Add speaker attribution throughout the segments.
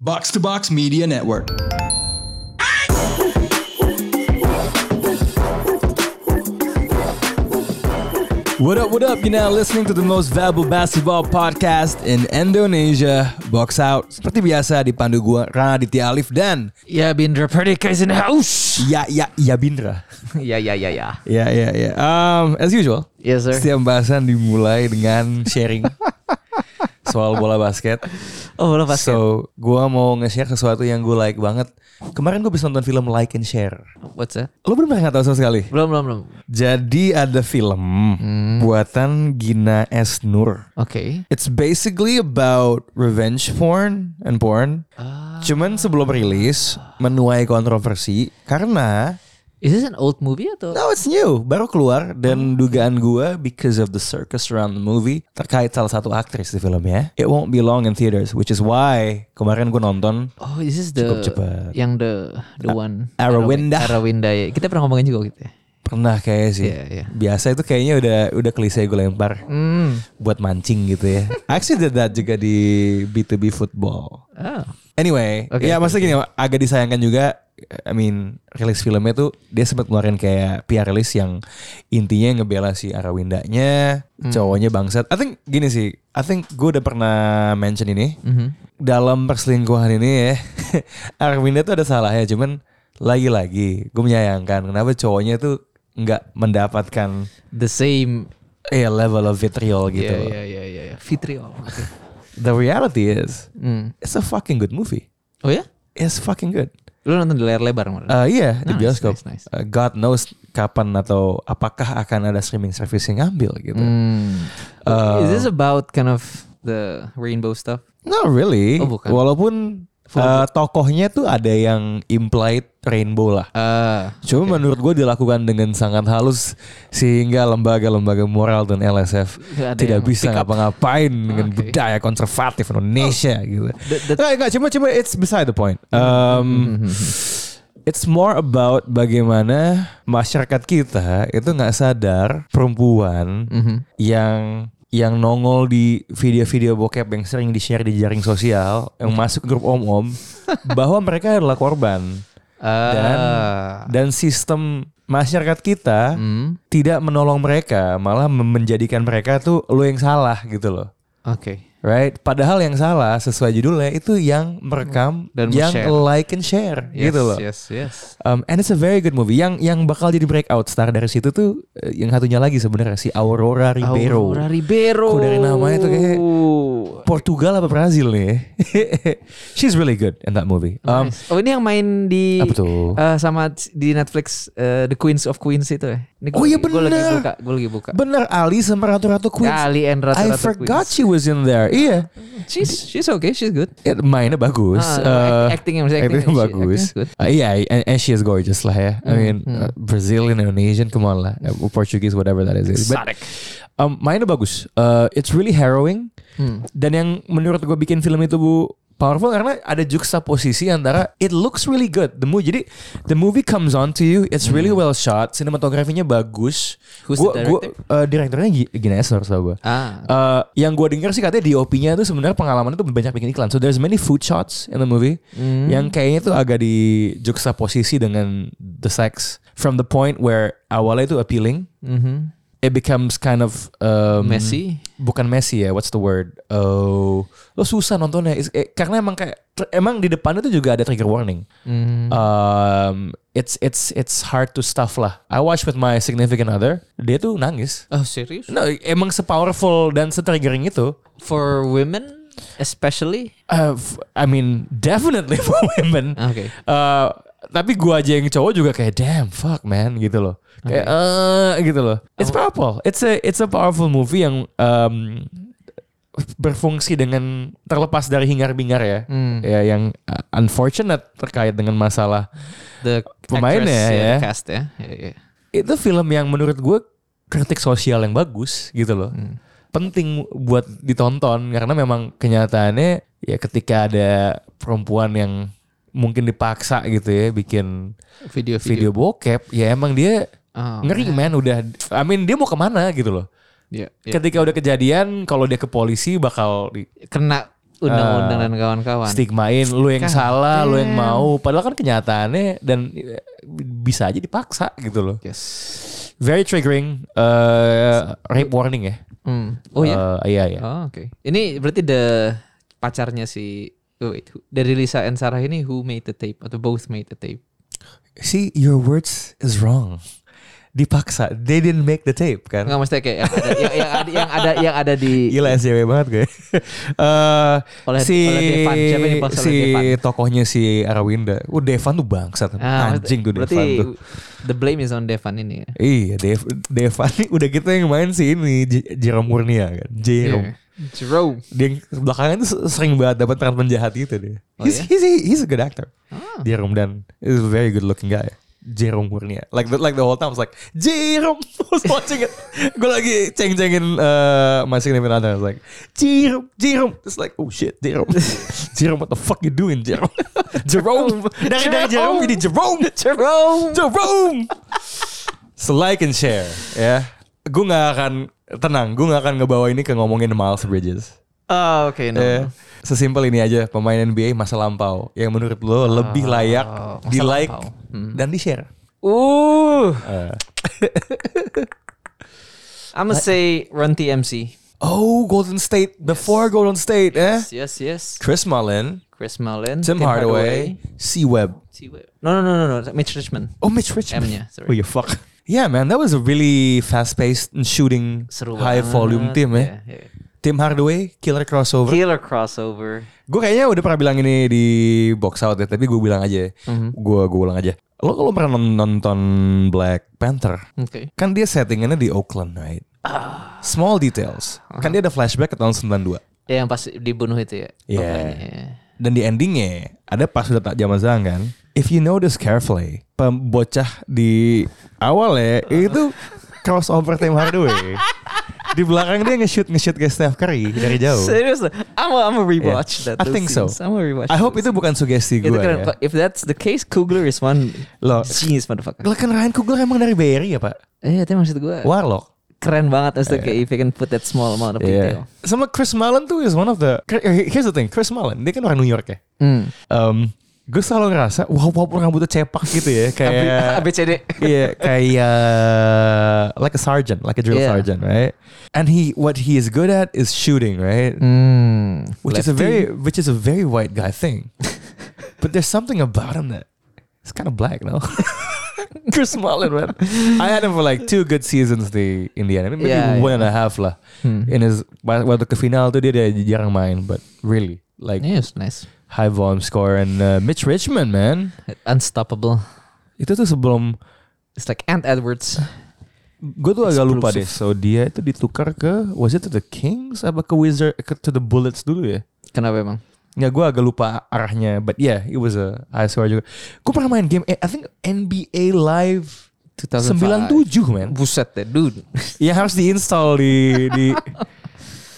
Speaker 1: Box to Box Media Network. What up, what up? You're now listening to the most valuable basketball podcast in Indonesia, Box Out. Seperti biasa dipandu gua Rana Ditya Alif dan
Speaker 2: Ya, Bindra Perdika is in the house.
Speaker 1: Ya Ya Ya Bindra.
Speaker 2: ya, ya, ya, ya.
Speaker 1: Ya Ya Ya. Um, as usual,
Speaker 2: Yes, sir.
Speaker 1: setiap bahasan dimulai dengan sharing soal bola basket.
Speaker 2: Oh, lo basket.
Speaker 1: So, gua mau nge-share sesuatu yang gue like banget. Kemarin gue bisa nonton film Like and Share.
Speaker 2: What's that?
Speaker 1: Lo bener nggak tahu sama sekali?
Speaker 2: Belum, belum, belum.
Speaker 1: Jadi ada film buatan Gina S Nur.
Speaker 2: Oke.
Speaker 1: It's basically about revenge porn and porn.
Speaker 2: Uh,
Speaker 1: Cuman sebelum rilis menuai kontroversi karena
Speaker 2: Is this an old movie atau?
Speaker 1: no it's new, baru keluar dan dugaan gua because of the circus around the movie terkait salah satu aktris di filmnya. It won't be long in theaters, which is why kemarin gue nonton
Speaker 2: Oh, is this the
Speaker 1: Cukup cepat.
Speaker 2: yang the the one
Speaker 1: Arrowinda.
Speaker 2: Arawinda ya. Kita pernah ngomongin juga gitu ya.
Speaker 1: pernah kayaknya sih.
Speaker 2: Iya, iya.
Speaker 1: Biasa itu kayaknya udah udah klise gue lempar.
Speaker 2: Hmm.
Speaker 1: buat mancing gitu ya. I Actually did that juga di B2B football.
Speaker 2: Oh.
Speaker 1: Anyway,
Speaker 2: Oke,
Speaker 1: ya
Speaker 2: oke,
Speaker 1: maksudnya gini agak disayangkan juga I mean rilis filmnya tuh dia sempat ngeluarin kayak PR release yang intinya ngebela si Arawindanya,
Speaker 2: Hmm.
Speaker 1: cowoknya bangsat. I think gini sih, I think gue udah pernah mention ini.
Speaker 2: Mhm.
Speaker 1: Dalam perselingkuhan ini ya, Arawinda tuh ada salahnya cuman lagi-lagi gue menyayangkan kenapa cowoknya tuh nggak mendapatkan
Speaker 2: The same.
Speaker 1: eh level of vitriol gitu. oh, loh.
Speaker 2: Ya, ya, ya, ya, ya. Fitriol. Oke.
Speaker 1: The reality is
Speaker 2: Hmm.
Speaker 1: it's a fucking good movie.
Speaker 2: Oh ya?
Speaker 1: It's fucking good.
Speaker 2: Lu nonton di layar lebar kemarin?
Speaker 1: Uh, iya di
Speaker 2: Nice,
Speaker 1: bioskop.
Speaker 2: nice, nice.
Speaker 1: Uh, God knows kapan atau apakah akan ada streaming service yang ngambil gitu.
Speaker 2: Hmm.
Speaker 1: Uh,
Speaker 2: is this about kind of the rainbow stuff?
Speaker 1: Not really.
Speaker 2: Oh, bukan.
Speaker 1: Walaupun
Speaker 2: Full
Speaker 1: uh, tokohnya tuh ada yang implied rainbow lah.
Speaker 2: Ah.
Speaker 1: Cuma menurut gue dilakukan dengan sangat halus sehingga lembaga-lembaga moral dan LSF
Speaker 2: Nggak ada
Speaker 1: tidak
Speaker 2: yang
Speaker 1: bisa
Speaker 2: pick up.
Speaker 1: ngapa-ngapain dengan
Speaker 2: Oke. Oh.
Speaker 1: budaya konservatif Indonesia gitu.
Speaker 2: That- that-
Speaker 1: Nggak, nggak, cuma cuma it's beside the point.
Speaker 2: Hmm.
Speaker 1: Um, It's more about bagaimana masyarakat kita itu nggak sadar perempuan
Speaker 2: Mhm.
Speaker 1: yang yang nongol di video-video bokep yang sering di-share di jaring sosial yang masuk grup om-om bahwa mereka adalah korban
Speaker 2: Ah.
Speaker 1: dan sistem masyarakat kita
Speaker 2: Hmm.
Speaker 1: tidak menolong mereka malah mem- menjadikan mereka tuh lo yang salah gitu loh
Speaker 2: Oke.
Speaker 1: right padahal yang salah sesuai judulnya itu yang merekam
Speaker 2: Dan
Speaker 1: yang
Speaker 2: share.
Speaker 1: like and share
Speaker 2: Yes,
Speaker 1: gitu loh
Speaker 2: Yes, yes.
Speaker 1: Um, and it's a very good movie. Yang yang bakal jadi breakout star dari situ tuh eh, yang satunya lagi sebenarnya si Aurora Ribeiro.
Speaker 2: Aurora Ribeiro.
Speaker 1: Kok dari namanya tuh kayak- Portugal apa Brazil nih? She's really good in that movie. Um,
Speaker 2: Nice. Oh ini yang main di
Speaker 1: Apa tuh?
Speaker 2: eh, sama di Netflix eh, The Queens of Queens itu ya. Ini
Speaker 1: Oh iya,
Speaker 2: Gue lagi
Speaker 1: bener.
Speaker 2: buka, gue lagi buka.
Speaker 1: Um, Bener Ali sama Ratu-Ratu Queens.
Speaker 2: Ya, Ali and Ratu
Speaker 1: I
Speaker 2: Ratu
Speaker 1: forgot
Speaker 2: Queens.
Speaker 1: she was in there. Iya.
Speaker 2: She's she's okay, she's good.
Speaker 1: Eh, mainnya bagus.
Speaker 2: Ah,
Speaker 1: Eh,
Speaker 2: acting- acting-nya, maksudnya
Speaker 1: actingnya
Speaker 2: acting-nya,
Speaker 1: bagus.
Speaker 2: actingnya good.
Speaker 1: Eh, Iya, and, and she is gorgeous lah ya. I mean,
Speaker 2: Hmm,
Speaker 1: eh, Brazilian, Indonesian, come on lah. Eh, Portuguese, whatever that is. But, um, mainnya bagus. Eh, it's really harrowing.
Speaker 2: Hmm.
Speaker 1: Dan yang menurut gue bikin film itu bu powerful karena ada juxtaposisi antara it looks really good the movie jadi the movie comes on to you it's really well shot sinematografinya bagus
Speaker 2: Hmm. Who's
Speaker 1: gua,
Speaker 2: the
Speaker 1: gua- eh, direkturnya Gi- Gina Esler tau gue
Speaker 2: Ah.
Speaker 1: Eh, yang gue denger sih katanya DOP-nya tuh sebenarnya pengalaman itu banyak bikin iklan. So there's many food shots in the movie Hmm.
Speaker 2: Hmm.
Speaker 1: yang kayaknya tuh agak di juxtaposisi dengan the sex from the point where awalnya itu appealing,
Speaker 2: mhm.
Speaker 1: it becomes kind of um,
Speaker 2: Messi.
Speaker 1: Bukan messy ya, what's the word? Oh, lo susah nontonnya Is- eh, karena emang kayak ter- emang di depan itu juga ada trigger warning. Hmm.
Speaker 2: Hmm.
Speaker 1: Um, it's it's it's hard to stuff lah. I watch with my significant other, dia tuh nangis.
Speaker 2: Oh serius?
Speaker 1: No, emang sepowerful dan setriggering itu.
Speaker 2: For women especially?
Speaker 1: Uh, f- I mean, definitely for women.
Speaker 2: Oke.
Speaker 1: Uh, tapi gua aja yang cowok juga kayak damn fuck man gitu loh. Kayak eh gitu loh. It's powerful. It's a it's a powerful movie yang um, berfungsi dengan terlepas dari hingar-bingar ya.
Speaker 2: Hmm.
Speaker 1: Ya yang uh, unfortunate terkait dengan masalah
Speaker 2: The
Speaker 1: Pemainnya
Speaker 2: actress,
Speaker 1: ya.
Speaker 2: the cast ya. Ya, ya.
Speaker 1: itu film yang menurut gue kritik sosial yang bagus gitu loh. Penting buat ditonton karena memang kenyataannya ya ketika ada perempuan yang mungkin dipaksa gitu ya bikin
Speaker 2: Video
Speaker 1: video
Speaker 2: video.
Speaker 1: bokep ya emang dia
Speaker 2: Iya. Oh,
Speaker 1: ngeri man udah I mean dia mau kemana gitu loh
Speaker 2: ya, ya.
Speaker 1: ketika udah kejadian kalau dia ke polisi bakal di,
Speaker 2: Kena undang-undang
Speaker 1: Eh,
Speaker 2: dan kawan-kawan.
Speaker 1: stigmain lu yang
Speaker 2: God
Speaker 1: salah, lu yang
Speaker 2: damn.
Speaker 1: mau. Padahal kan kenyataannya dan eh, bisa aja dipaksa gitu loh.
Speaker 2: Yes.
Speaker 1: Very triggering eh rape warning ya.
Speaker 2: Hmm. Oh ya.
Speaker 1: Eh, iya iya.
Speaker 2: Oh, Oke. Ini berarti the pacarnya si oh, wait, who- dari Lisa and Sarah ini who made the tape atau both made the tape?
Speaker 1: See your words is wrong. Dipaksa. They didn't make the tape kan.
Speaker 2: Enggak maksudnya kayak yang ada yang, yang ada, yang ada yang ada di
Speaker 1: Gila SJW banget gue. Eh,
Speaker 2: Oleh-
Speaker 1: si
Speaker 2: oleh Devan. Siapa yang dipaksa oleh
Speaker 1: si
Speaker 2: Devan?
Speaker 1: tokohnya si Arawinda. Oh Devan tuh bangsat.
Speaker 2: Ah, maksudnya-
Speaker 1: Anjing tuh
Speaker 2: berarti
Speaker 1: Devan tuh.
Speaker 2: the blame is on Devan ini ya.
Speaker 1: Iya, Dev, Devan nih udah gitu yang main si ini J- Jerome Murnia kan. Jerome.
Speaker 2: Yeah. Jerome.
Speaker 1: Dia yang belakangan tuh sering banget dapat peran penjahat gitu dia.
Speaker 2: Oh,
Speaker 1: he's,
Speaker 2: iya?
Speaker 1: he's, he's a good actor.
Speaker 2: Ah.
Speaker 1: Jerome dan is a very good looking guy. Jerome Murnia. Like the, like the whole time I was like, Jerome. I was watching it. Gue lagi ceng-cengin uh, My Significant Other. I was like, Jerome, Jerome. It's like, oh shit, Jerome. Jerome, what the fuck you doing, Jerome? Jerome. Dari, dari Jerome jadi Jerome.
Speaker 2: Jerome.
Speaker 1: Jerome. so like and share ya. Gue nggak akan tenang, gue nggak akan ngebawa ini ke ngomongin Miles Bridges.
Speaker 2: Ah, oke no.
Speaker 1: Eh, sesimpel ini aja pemain NBA masa lampau yang menurut lo lebih layak
Speaker 2: masa
Speaker 1: di like
Speaker 2: lampau.
Speaker 1: Ah, dan di share.
Speaker 2: Uh,
Speaker 1: Eh,
Speaker 2: I'ma say Run TMC.
Speaker 1: oh Golden State before Golden State eh.
Speaker 2: Yes, yes, yes.
Speaker 1: Chris Mullin,
Speaker 2: Chris Mullin,
Speaker 1: Tim, Hardaway, C Web.
Speaker 2: Hardaway. No, no, no, no, no. Mitch Richmond.
Speaker 1: Oh Mitch Richmond.
Speaker 2: M-nya, sorry.
Speaker 1: Oh you fuck. Yeah man, that was a really fast-paced and shooting
Speaker 2: Seru
Speaker 1: high
Speaker 2: banget.
Speaker 1: volume team eh.
Speaker 2: Ah, Yeah, yeah.
Speaker 1: Tim Hardaway, killer crossover.
Speaker 2: Killer crossover.
Speaker 1: Gue kayaknya udah pernah bilang ini di box out ya, tapi gue bilang aja, gue gue ulang aja. Lo kalau pernah non- nonton Black Panther,
Speaker 2: Oke.
Speaker 1: kan dia settingannya di Oakland, right? Small details. Kan dia ada flashback ke tahun 92.
Speaker 2: Ya yang pas dibunuh itu ya.
Speaker 1: Iya.
Speaker 2: Oh, Pokoknya, ya.
Speaker 1: Dan di endingnya ada pas udah tak zaman sekarang kan. If you notice carefully, pem- bocah di awalnya itu crossover Tim Hardaway. di belakang dia nge-shoot nge-shoot ke Steph Curry dari jauh.
Speaker 2: Serius, loh. I'm a, I'm a
Speaker 1: Yeah.
Speaker 2: rewatch that.
Speaker 1: I
Speaker 2: those
Speaker 1: think so.
Speaker 2: scenes. I'm a rewatch.
Speaker 1: I hope
Speaker 2: those
Speaker 1: itu bukan sugesti
Speaker 2: scenes.
Speaker 1: gue.
Speaker 2: Itu keren.
Speaker 1: ya.
Speaker 2: But If that's the case, Kugler is one
Speaker 1: Loh.
Speaker 2: genius motherfucker.
Speaker 1: Lah kan Ryan Coogler emang dari Bay Area, Pak.
Speaker 2: Eh, itu maksud gue.
Speaker 1: Warlock.
Speaker 2: Keren banget maksudnya kayak if you can put that small amount of detail.
Speaker 1: Sama Chris Mullen tuh is one of the Here's the thing, Chris Mullen dia kan orang New York ya.
Speaker 2: Hmm.
Speaker 1: Um, gue selalu ngerasa wow walaupun rambutnya cepak gitu ya kayak
Speaker 2: ABCD.
Speaker 1: Iya, kayak like a sergeant, like a drill
Speaker 2: Yeah.
Speaker 1: sergeant, right? And he what he is good at is shooting, right?
Speaker 2: Hmm.
Speaker 1: Which is a very which is a very white guy thing. but there's something about him that it's kind of black, no? Chris Mullen, man. I had him for like two good seasons the in the anime, maybe
Speaker 2: Yeah,
Speaker 1: one and a half lah.
Speaker 2: Hmm.
Speaker 1: In his wa- waktu ke final tuh dia, dia jarang main, but really like
Speaker 2: Yes, nice.
Speaker 1: high volume score and uh, Mitch Richmond, man.
Speaker 2: Unstoppable.
Speaker 1: Itu tuh sebelum
Speaker 2: It's like Ant Edwards.
Speaker 1: gue tuh agak lupa deh.
Speaker 2: Explosive.
Speaker 1: So dia itu ditukar ke was it to the Kings apa ke Wizard ke to the Bullets dulu ya?
Speaker 2: Kenapa emang?
Speaker 1: Nggak, gue agak lupa arahnya. But yeah, it was a high score juga. Gue pernah main game, eh, I think NBA Live
Speaker 2: 2005.
Speaker 1: 97, man.
Speaker 2: Buset deh, dude.
Speaker 1: Yang Iya, harus diinstall di... di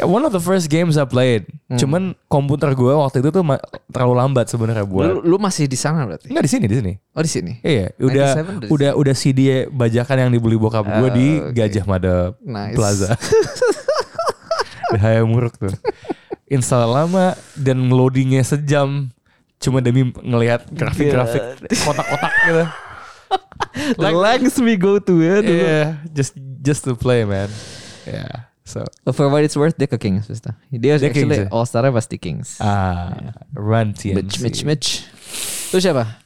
Speaker 1: Hmm. One of the first games I played. Cuman komputer gue waktu itu tuh ma- terlalu lambat sebenarnya buat.
Speaker 2: Lu, lu masih di sana berarti?
Speaker 1: Enggak di sini, di sini.
Speaker 2: Oh di sini.
Speaker 1: Iya, udah
Speaker 2: 97 udah di
Speaker 1: udah udah CD bajakan yang dibeli bokap gue
Speaker 2: Oh,
Speaker 1: di
Speaker 2: oke.
Speaker 1: Gajah Mada
Speaker 2: Nice.
Speaker 1: Plaza. Bahaya muruk tuh. Install lama dan loadingnya sejam cuma demi ngelihat grafik-grafik
Speaker 2: Iya.
Speaker 1: kotak-kotak gitu.
Speaker 2: The lengths we go to eh, ya dulu.
Speaker 1: Yeah, just just to play man. Yeah, so
Speaker 2: For what it's worth, dia ke Kings. Mister. Dia
Speaker 1: Dia Kings,
Speaker 2: actually
Speaker 1: ya?
Speaker 2: all star pasti Kings.
Speaker 1: ah run TMC.
Speaker 2: Iya. Mitch, Mitch, Mitch. Lu siapa?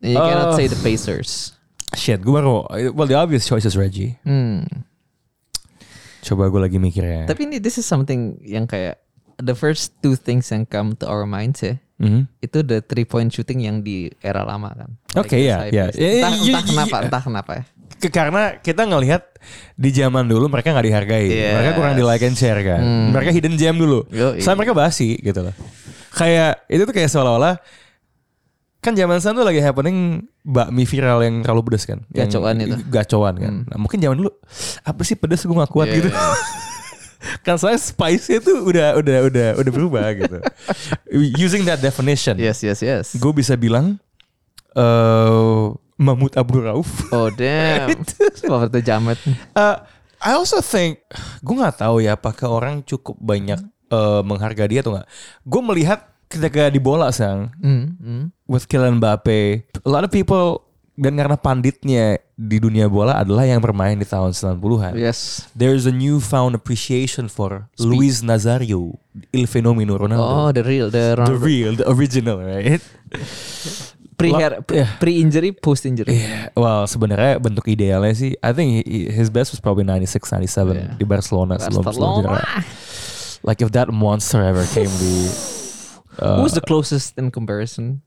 Speaker 2: You
Speaker 1: Uh,
Speaker 2: cannot say the Pacers.
Speaker 1: Shit, gue baru well the obvious choice is Reggie.
Speaker 2: Hmm.
Speaker 1: Coba gue lagi mikirnya.
Speaker 2: Tapi ini this is something yang kayak the first two things yang come to our minds eh, ya.
Speaker 1: Mhm.
Speaker 2: Itu the three point shooting yang di era lama kan.
Speaker 1: Oke,
Speaker 2: the
Speaker 1: iya,
Speaker 2: high
Speaker 1: iya.
Speaker 2: post.
Speaker 1: Eh,
Speaker 2: Entah,
Speaker 1: iya,
Speaker 2: entah
Speaker 1: iya,
Speaker 2: kenapa,
Speaker 1: iya.
Speaker 2: entah kenapa ya.
Speaker 1: Ke- karena kita ngelihat di zaman dulu mereka nggak dihargai,
Speaker 2: Yes.
Speaker 1: mereka kurang di like and share kan,
Speaker 2: Hmm.
Speaker 1: mereka hidden gem dulu,
Speaker 2: Yoi.
Speaker 1: Soalnya mereka basi gitu loh. Kayak itu tuh kayak seolah-olah kan zaman sekarang tuh lagi happening bakmi viral yang terlalu pedes kan, Yang-
Speaker 2: Gacoan itu. Hmm.
Speaker 1: gacoan kan. Nah, mungkin zaman dulu apa sih pedes gue nggak kuat
Speaker 2: Iya,
Speaker 1: gitu. kan saya spice itu udah udah udah udah berubah gitu. Using that definition,
Speaker 2: Yes, yes, yes.
Speaker 1: gue bisa bilang eh Mahmud Abdul Rauf.
Speaker 2: Oh damn. Seperti jamet.
Speaker 1: Eh, Uh, I also think gue nggak tahu ya apakah orang cukup banyak eh, menghargai dia atau nggak. Gue melihat ketika di bola sang
Speaker 2: Hmm, hmm.
Speaker 1: with Kylian Mbappe, a lot of people dan karena panditnya di dunia bola adalah yang bermain di tahun 90-an.
Speaker 2: Yes.
Speaker 1: There's a newfound appreciation for Luis Nazario, il fenomeno
Speaker 2: Oh,
Speaker 1: Ronaldo.
Speaker 2: the real,
Speaker 1: the
Speaker 2: the, Ronaldo.
Speaker 1: real, the original, right?
Speaker 2: pre
Speaker 1: la- yeah.
Speaker 2: pre injury, post injury.
Speaker 1: Yeah, well sebenarnya bentuk idealnya sih, I think he- his best was probably 96, 97
Speaker 2: Yeah.
Speaker 1: di Barcelona sebelum sebelum
Speaker 2: Iya. Barcelona.
Speaker 1: cedera. Like if that monster ever came di, uh,
Speaker 2: Who's the closest in comparison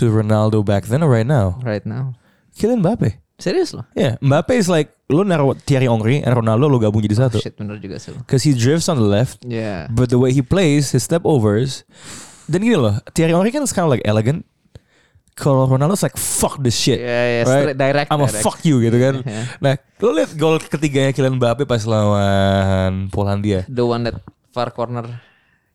Speaker 1: to Ronaldo back then or right now?
Speaker 2: right now?
Speaker 1: Kylian Mbappe.
Speaker 2: Serius loh.
Speaker 1: Yeah, Mbappe is like lu naruh Thierry Henry and Ronaldo lu gabung jadi satu.
Speaker 2: Shit bener juga sih. lo.
Speaker 1: Cause he drifts on the left,
Speaker 2: Yeah.
Speaker 1: but the way he plays, his step overs. Dan gini loh, Thierry Henry kan kind of like elegant. Kalau Ronaldo's like fuck this shit.
Speaker 2: Yeah, yeah,
Speaker 1: right?
Speaker 2: straight direct.
Speaker 1: I'm a
Speaker 2: direct.
Speaker 1: fuck you gitu kan.
Speaker 2: Yeah.
Speaker 1: Nah, lo lihat gol ketiganya Kylian Mbappe pas lawan Polandia.
Speaker 2: The one that far corner.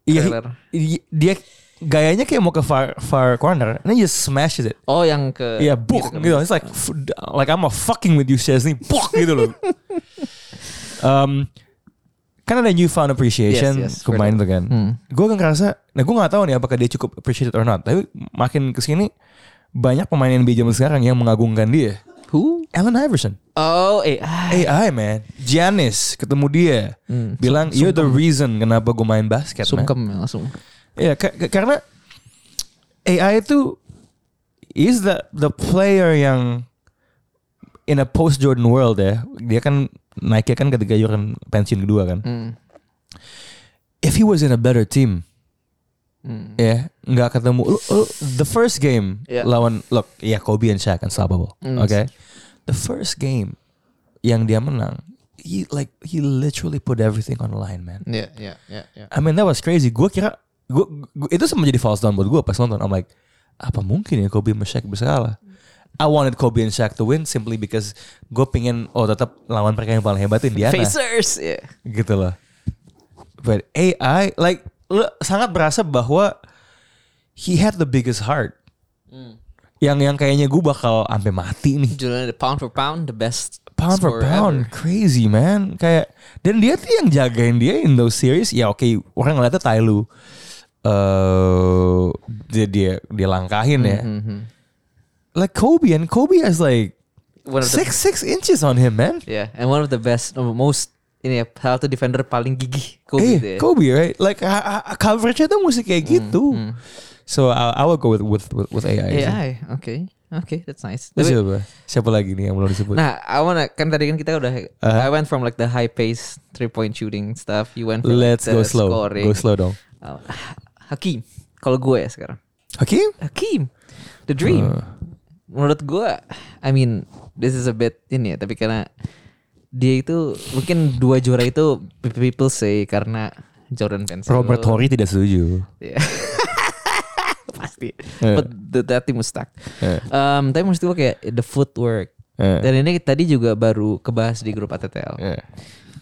Speaker 1: Iya,
Speaker 2: Trailer.
Speaker 1: i- dia gayanya kayak mau ke far far corner, and he just smashes it.
Speaker 2: Oh, yang ke
Speaker 1: Iya, buk
Speaker 2: kan.
Speaker 1: gitu. It's like f- like I'm a fucking with you Chesney, buk gitu loh. um, kan ada newfound appreciation
Speaker 2: Yes, yes,
Speaker 1: kemarin tuh kan.
Speaker 2: Hmm.
Speaker 1: Gue kan ngerasa, nah gue nggak tahu nih apakah dia cukup appreciated or not. Tapi makin kesini banyak pemain NBA zaman sekarang yang mengagungkan dia.
Speaker 2: Who?
Speaker 1: Allen Iverson.
Speaker 2: Oh, eh. ah.
Speaker 1: AI man, Giannis ketemu dia,
Speaker 2: Hmm.
Speaker 1: bilang you're the reason kenapa gue main basket. Man.
Speaker 2: Sungkem ya, langsung.
Speaker 1: Ya ka- ka- karena AI itu is the the player yang in a post Jordan world ya, dia kan naiknya kan ketika Jordan pensiun kedua kan.
Speaker 2: Hmm.
Speaker 1: Mm. If he was in a better team,
Speaker 2: Hmm.
Speaker 1: ya nggak ketemu. Lu- lu- the first game
Speaker 2: Yeah.
Speaker 1: lawan look, ya Kobe and Shaq unstoppable.
Speaker 2: Mm.
Speaker 1: Oke. The first game yang dia menang, he like he literally put everything on the line, man.
Speaker 2: Ya, ya, ya, ya.
Speaker 1: I mean that was crazy. Gue kira gue itu sama jadi false down buat gue pas nonton. I'm like apa mungkin ya Kobe sama Shaq bersalah? I wanted Kobe and Shaq to win simply because gue pengen oh tetap lawan mereka yang paling hebat Indiana
Speaker 2: Facers, ya.
Speaker 1: gitu loh. But AI like lu sangat berasa bahwa he had the biggest heart. Yang yang kayaknya gue bakal sampai mati nih.
Speaker 2: Judulnya the pound for pound, the best
Speaker 1: Pound for
Speaker 2: scorer
Speaker 1: pound,
Speaker 2: ever.
Speaker 1: crazy man. Kayak dan dia tuh yang jagain dia in those series. Ya oke, orang ngeliatnya Tai Lu. Eh, dia dia dia langkahin ya.
Speaker 2: Hmm,
Speaker 1: Like Kobe and Kobe has like
Speaker 2: One of the-
Speaker 1: six six inches on him, man.
Speaker 2: Yeah, and one of the best, no, most ini ya, salah satu defender paling gigih Kobe Hmm,
Speaker 1: Eh,
Speaker 2: itu ya.
Speaker 1: Kobe, right? Like ha- ha- coverage-nya tuh mesti kayak gitu. So I, I will go with with with, with AI. sih.
Speaker 2: AI, oke, oke, that's nice.
Speaker 1: Terus
Speaker 2: Tapi-
Speaker 1: siapa? Siapa lagi nih yang belum disebut?
Speaker 2: nah, I wanna kan tadi kan kita udah,
Speaker 1: Uh-huh.
Speaker 2: I went from like the high pace three point shooting stuff, you went from like
Speaker 1: Let's
Speaker 2: the
Speaker 1: go slow.
Speaker 2: scoring.
Speaker 1: Go slow dong.
Speaker 2: Oh, Hakim, kalau gue ya sekarang,
Speaker 1: Hakim?
Speaker 2: Hakim, the dream.
Speaker 1: Uh.
Speaker 2: Menurut gue, I mean, this is a bit ini ya, tapi karena dia itu mungkin dua juara itu people say karena Jordan Pencil.
Speaker 1: Robert Horry tidak setuju.
Speaker 2: Yeah. Pasti.
Speaker 1: Eh.
Speaker 2: But the, that team was stacked.
Speaker 1: Eh.
Speaker 2: Um, tapi maksud gue kayak the footwork.
Speaker 1: Eh.
Speaker 2: Dan ini tadi juga baru kebahas di grup ATTL.
Speaker 1: Eh.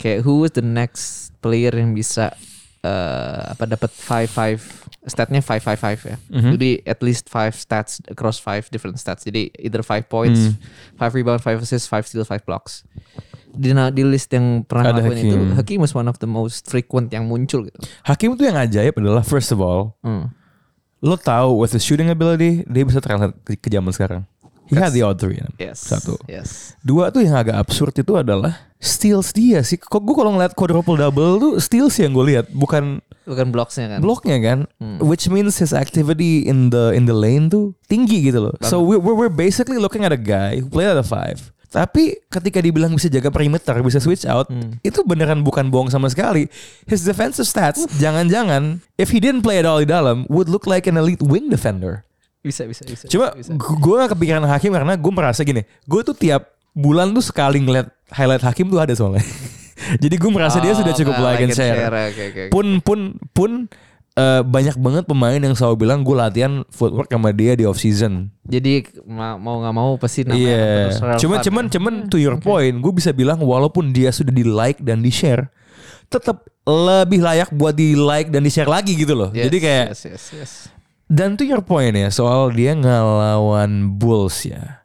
Speaker 2: Kayak who is the next player yang bisa eh, apa dapat 5-5 statnya 5-5-5 ya.
Speaker 1: Mhm.
Speaker 2: Jadi at least 5 stats across 5 different stats. Jadi either 5 points,
Speaker 1: Hmm.
Speaker 2: 5 rebound, 5 assists, 5 steals, 5 blocks. Di, di list yang pernah
Speaker 1: Ada
Speaker 2: ngelakuin itu
Speaker 1: Hakim.
Speaker 2: Hakim was one of the most frequent yang muncul gitu.
Speaker 1: Hakim tuh yang ajaib adalah first of all,
Speaker 2: Hmm.
Speaker 1: lo tahu with the shooting ability dia bisa translate ke, ke zaman sekarang. He had the odd three. in him.
Speaker 2: Yes.
Speaker 1: Satu.
Speaker 2: Yes.
Speaker 1: Dua tuh yang agak absurd itu adalah steals dia sih. Kok gue kalau ngeliat quadruple double tuh steals yang gue lihat bukan
Speaker 2: bukan blocksnya kan
Speaker 1: bloknya kan, which means his activity in the in the lane tuh tinggi gitu loh. So we- we're, we're basically looking at a guy who played at a five. Tapi ketika dibilang bisa jaga perimeter, bisa switch out, itu beneran bukan bohong sama sekali. His defensive stats, jangan-jangan if he didn't play at all di dalam, would look like an elite wing defender.
Speaker 2: bisa bisa bisa
Speaker 1: Cuma gue gak kepikiran Hakim karena gue merasa gini, gue tuh tiap bulan tuh sekali ngeliat highlight Hakim tuh ada soalnya. Jadi gue merasa
Speaker 2: Ah,
Speaker 1: dia sudah cukup Ah, nah, like and share pun pun pun eh, banyak banget pemain yang selalu bilang gue latihan footwork sama dia di off season.
Speaker 2: jadi ma- mau nggak mau pasti namanya
Speaker 1: Iya.
Speaker 2: terus relevan.
Speaker 1: Cuman cuman cuman to your point, gue bisa bilang walaupun dia sudah di like dan di share, tetap lebih layak buat di like dan di share lagi gitu loh.
Speaker 2: Yes,
Speaker 1: Jadi kayak
Speaker 2: yes yes yes Mm-hmm.
Speaker 1: dan to your point ya soal dia ngelawan Bulls ya.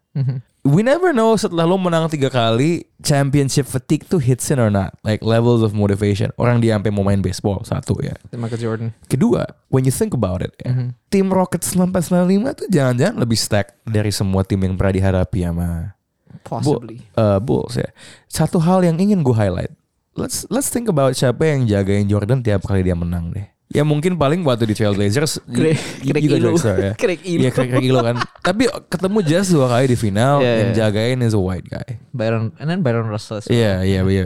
Speaker 1: we never know setelah lo menang tiga kali championship fatigue tuh hits in or not like levels of motivation orang dia sampai mau main baseball satu ya
Speaker 2: Michael Jordan.
Speaker 1: kedua when you think about it
Speaker 2: Mhm.
Speaker 1: ya, tim Rockets 94-95 tuh jangan-jangan lebih stack dari semua tim yang pernah dihadapi sama Bu-
Speaker 2: Possibly.
Speaker 1: uh, Bulls ya. Satu hal yang ingin gue highlight. Let's let's think about siapa yang jagain Jordan tiap kali dia menang deh. Ya mungkin paling waktu di Trailblazers
Speaker 2: Craig- Craig
Speaker 1: juga
Speaker 2: Ilo.
Speaker 1: Drexler ya.
Speaker 2: Craig Ilo.
Speaker 1: Iya, Craig- Craig Ilo kan. Tapi ketemu Jazz dua kali di final
Speaker 2: Yeah,
Speaker 1: yang
Speaker 2: yeah.
Speaker 1: jagain is a white guy.
Speaker 2: Byron and then Byron Russell. as well.
Speaker 1: Iya, iya, iya,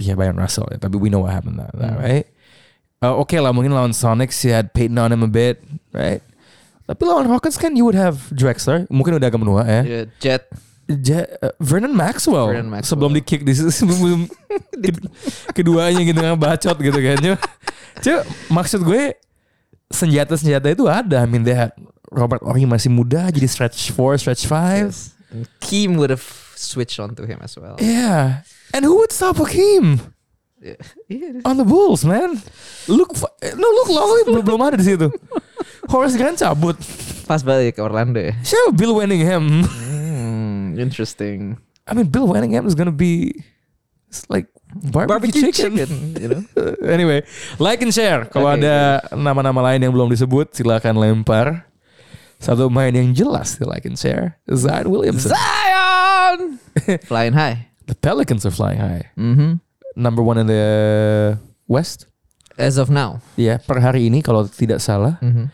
Speaker 1: iya Byron Russell. ya. Tapi we know what happened that, that,
Speaker 2: Hmm.
Speaker 1: right? Uh, Oke lah mungkin lawan Sonics he had Peyton on him a bit, right? Tapi lawan Rockets kan you would have Drexler, mungkin udah agak menua ya.
Speaker 2: Yeah, Jet.
Speaker 1: Ja- uh, Vernon, Maxwell.
Speaker 2: Vernon Maxwell.
Speaker 1: sebelum di kick di sebelum ke- keduanya gitu kan bacot gitu kan Cuma- cuma maksud gue senjata-senjata itu ada I mean they had Robert Ory masih muda jadi stretch 4 stretch 5
Speaker 2: Yes. And Kim would have switched on to him as well.
Speaker 1: yeah and who would stop Hakim
Speaker 2: Yeah.
Speaker 1: on the Bulls man Luke Fa- no Luke Longley belum belum ada di situ Horace Grant cabut
Speaker 2: Pas balik ke Orlando ya.
Speaker 1: siapa Bill Wenningham
Speaker 2: Hmm, interesting.
Speaker 1: I mean Bill Wenningham is gonna be it's like barbecue, chicken.
Speaker 2: you know.
Speaker 1: anyway, like and share. Kalau
Speaker 2: Oke.
Speaker 1: ada nama-nama lain yang belum disebut, silakan lempar. Satu main yang jelas di like and share. Zion Williamson.
Speaker 2: Zion! Flying high.
Speaker 1: The Pelicans are flying high.
Speaker 2: Mhm.
Speaker 1: Number one in the West.
Speaker 2: As of now.
Speaker 1: Ya, per hari ini kalau tidak salah
Speaker 2: Mhm.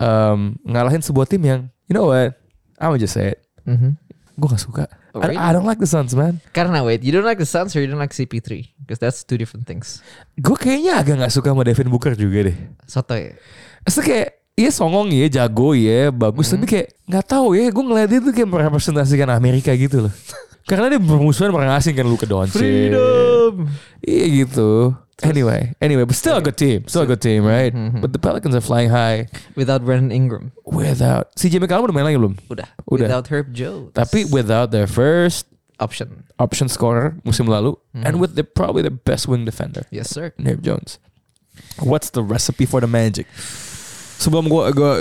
Speaker 1: um, ngalahin sebuah tim yang you know what? I'm just say it.
Speaker 2: Mhm.
Speaker 1: Gue gak suka.
Speaker 2: Oh,
Speaker 1: I-
Speaker 2: really?
Speaker 1: I, don't like the Suns, man.
Speaker 2: Karena wait, you don't like the Suns or you don't like CP3 because that's two different things.
Speaker 1: Gue kayaknya agak gak suka sama Devin Booker juga deh.
Speaker 2: Soto ya.
Speaker 1: Terus kayak Iya songong ya, jago ya, bagus
Speaker 2: Hmm.
Speaker 1: tapi kayak nggak tahu ya, gue ngeliat dia tuh kayak merepresentasikan Amerika gitu loh. Karena dia bermusuhan orang asing kan Luka Doncic. Iya gitu. Anyway, anyway, but still a good team, still a good team, right?
Speaker 2: Hmm,
Speaker 1: But the Pelicans are flying high
Speaker 2: Without Brandon Ingram.
Speaker 1: without CJ McCollum udah main lagi belum?
Speaker 2: Udah.
Speaker 1: Udah.
Speaker 2: Without Herb Jones.
Speaker 1: Tapi without their first
Speaker 2: option.
Speaker 1: option scorer musim lalu
Speaker 2: Hmm.
Speaker 1: and with the probably the best wing defender.
Speaker 2: Yes sir.
Speaker 1: Herb Jones. What's the recipe for the magic? Sebelum gua, gua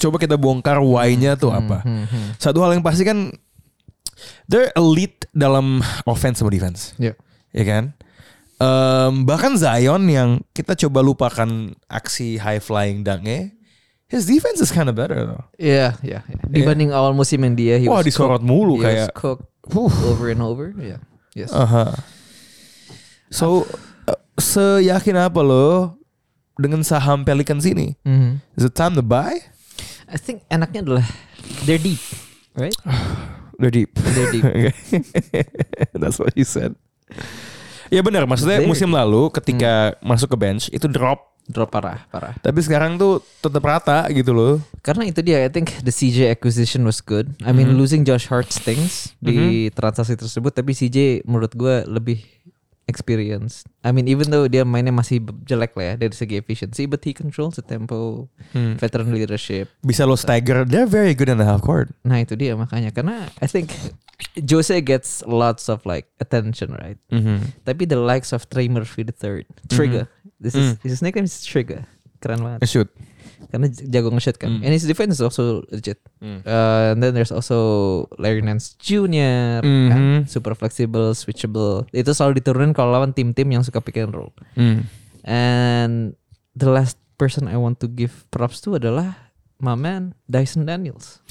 Speaker 1: coba kita bongkar why-nya tuh apa.
Speaker 2: Hmm, Mm-hmm.
Speaker 1: Satu hal yang pasti kan they're elite dalam offense sama defense,
Speaker 2: Yeah.
Speaker 1: ya kan? Em, bahkan Zion yang kita coba lupakan aksi high flying dunknya, his defense is kind of better though.
Speaker 2: Yeah, yeah, yeah. Dibanding awal musim yang dia he
Speaker 1: Wah,
Speaker 2: was
Speaker 1: disorot
Speaker 2: cooked.
Speaker 1: mulu
Speaker 2: He was
Speaker 1: kayak. Uh.
Speaker 2: cooked
Speaker 1: Huh.
Speaker 2: over and over. Yeah. Yes.
Speaker 1: Aha. So eh, seyakin apa lo dengan saham Pelicans ini?
Speaker 2: Mhm.
Speaker 1: Is it time to buy?
Speaker 2: I think enaknya adalah they're deep, right?
Speaker 1: They're deep.
Speaker 2: They're deep.
Speaker 1: That's what you said. Ya benar, maksudnya
Speaker 2: Very
Speaker 1: musim lalu ketika masuk ke bench itu drop,
Speaker 2: Drop parah, parah.
Speaker 1: tapi sekarang tuh tetap rata gitu loh.
Speaker 2: Karena itu dia, I think the CJ acquisition was good. I mean, losing Josh Hart stings di transaksi tersebut, tapi CJ menurut gue lebih experience. I mean, even though dia mainnya masih b- jelek lah ya dari segi efficiency, but he controls the tempo,
Speaker 1: Hmm.
Speaker 2: veteran leadership.
Speaker 1: Bisa lo stagger. They're very good in the half court.
Speaker 2: Nah itu dia makanya, karena I think Jose gets lots of like attention, right?
Speaker 1: Mm-hmm.
Speaker 2: Tapi the likes of Trey Murphy the third, Trigger. This is his nickname is Trigger. Keren banget.
Speaker 1: Shoot.
Speaker 2: karena j- jago nge-shoot kan. And his defense is also legit.
Speaker 1: Hmm.
Speaker 2: Uh, and then there's also Larry Nance Jr. kan.
Speaker 1: Mhm.
Speaker 2: Super flexible, switchable. Itu selalu diturunin kalau lawan tim-tim yang suka pick and roll.
Speaker 1: Hmm. Nah,
Speaker 2: And the last person I want to give props to adalah my man Dyson Daniels.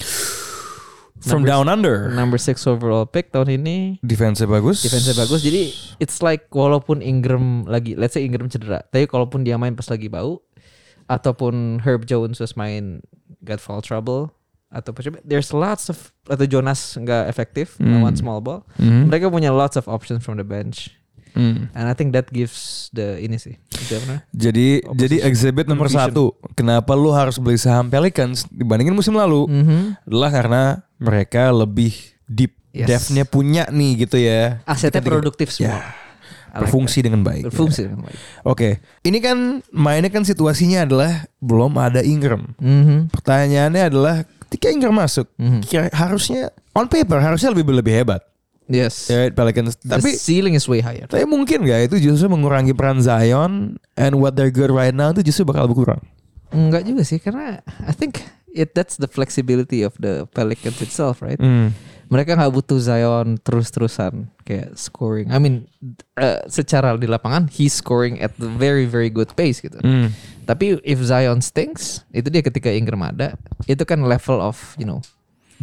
Speaker 1: From
Speaker 2: Numbers-
Speaker 1: down under.
Speaker 2: Number six overall pick tahun ini.
Speaker 1: Defense bagus.
Speaker 2: Defense bagus. Jadi it's like walaupun Ingram lagi let's say Ingram cedera, tapi kalaupun dia main pas lagi bau ataupun Herb Jones was main got foul trouble atau apa coba, there's lots of atau Jonas nggak efektif lawan small ball. Mereka punya lots of options from the bench.
Speaker 1: Hmm.
Speaker 2: And I think that gives the ini sih. Itu apa namanya?
Speaker 1: Jadi jadi exhibit nomor
Speaker 2: Vision.
Speaker 1: satu. Kenapa lu harus beli saham Pelicans dibandingin musim lalu?
Speaker 2: Mm-hmm.
Speaker 1: Adalah karena mereka lebih deep
Speaker 2: Yes.
Speaker 1: depth-nya punya nih gitu ya.
Speaker 2: Asetnya
Speaker 1: Ketika-
Speaker 2: produktif semua.
Speaker 1: Ya.
Speaker 2: I like
Speaker 1: berfungsi dengan
Speaker 2: that.
Speaker 1: baik.
Speaker 2: Berfungsi.
Speaker 1: Ya.
Speaker 2: dengan baik.
Speaker 1: Oke, ini kan mainnya kan situasinya adalah belum ada Ingram.
Speaker 2: Mhm.
Speaker 1: Pertanyaannya adalah ketika Ingram masuk,
Speaker 2: Mm-hmm.
Speaker 1: kira- harusnya on paper harusnya lebih lebih hebat.
Speaker 2: Yes.
Speaker 1: Ya, Pelicans.
Speaker 2: Tapi
Speaker 1: Tapi
Speaker 2: ceiling is way higher.
Speaker 1: tapi mungkin gak itu justru mengurangi peran Zion and what they're good right now itu justru bakal berkurang.
Speaker 2: Enggak
Speaker 1: Hmm,
Speaker 2: juga sih karena I think it that's the flexibility of the Pelicans itself, right? mereka nggak butuh Zion terus-terusan kayak scoring. I mean, eh, secara di lapangan he's scoring at the very very good pace gitu.
Speaker 1: Hmm.
Speaker 2: Tapi if Zion stinks, itu dia ketika Ingram ada, itu kan level of you know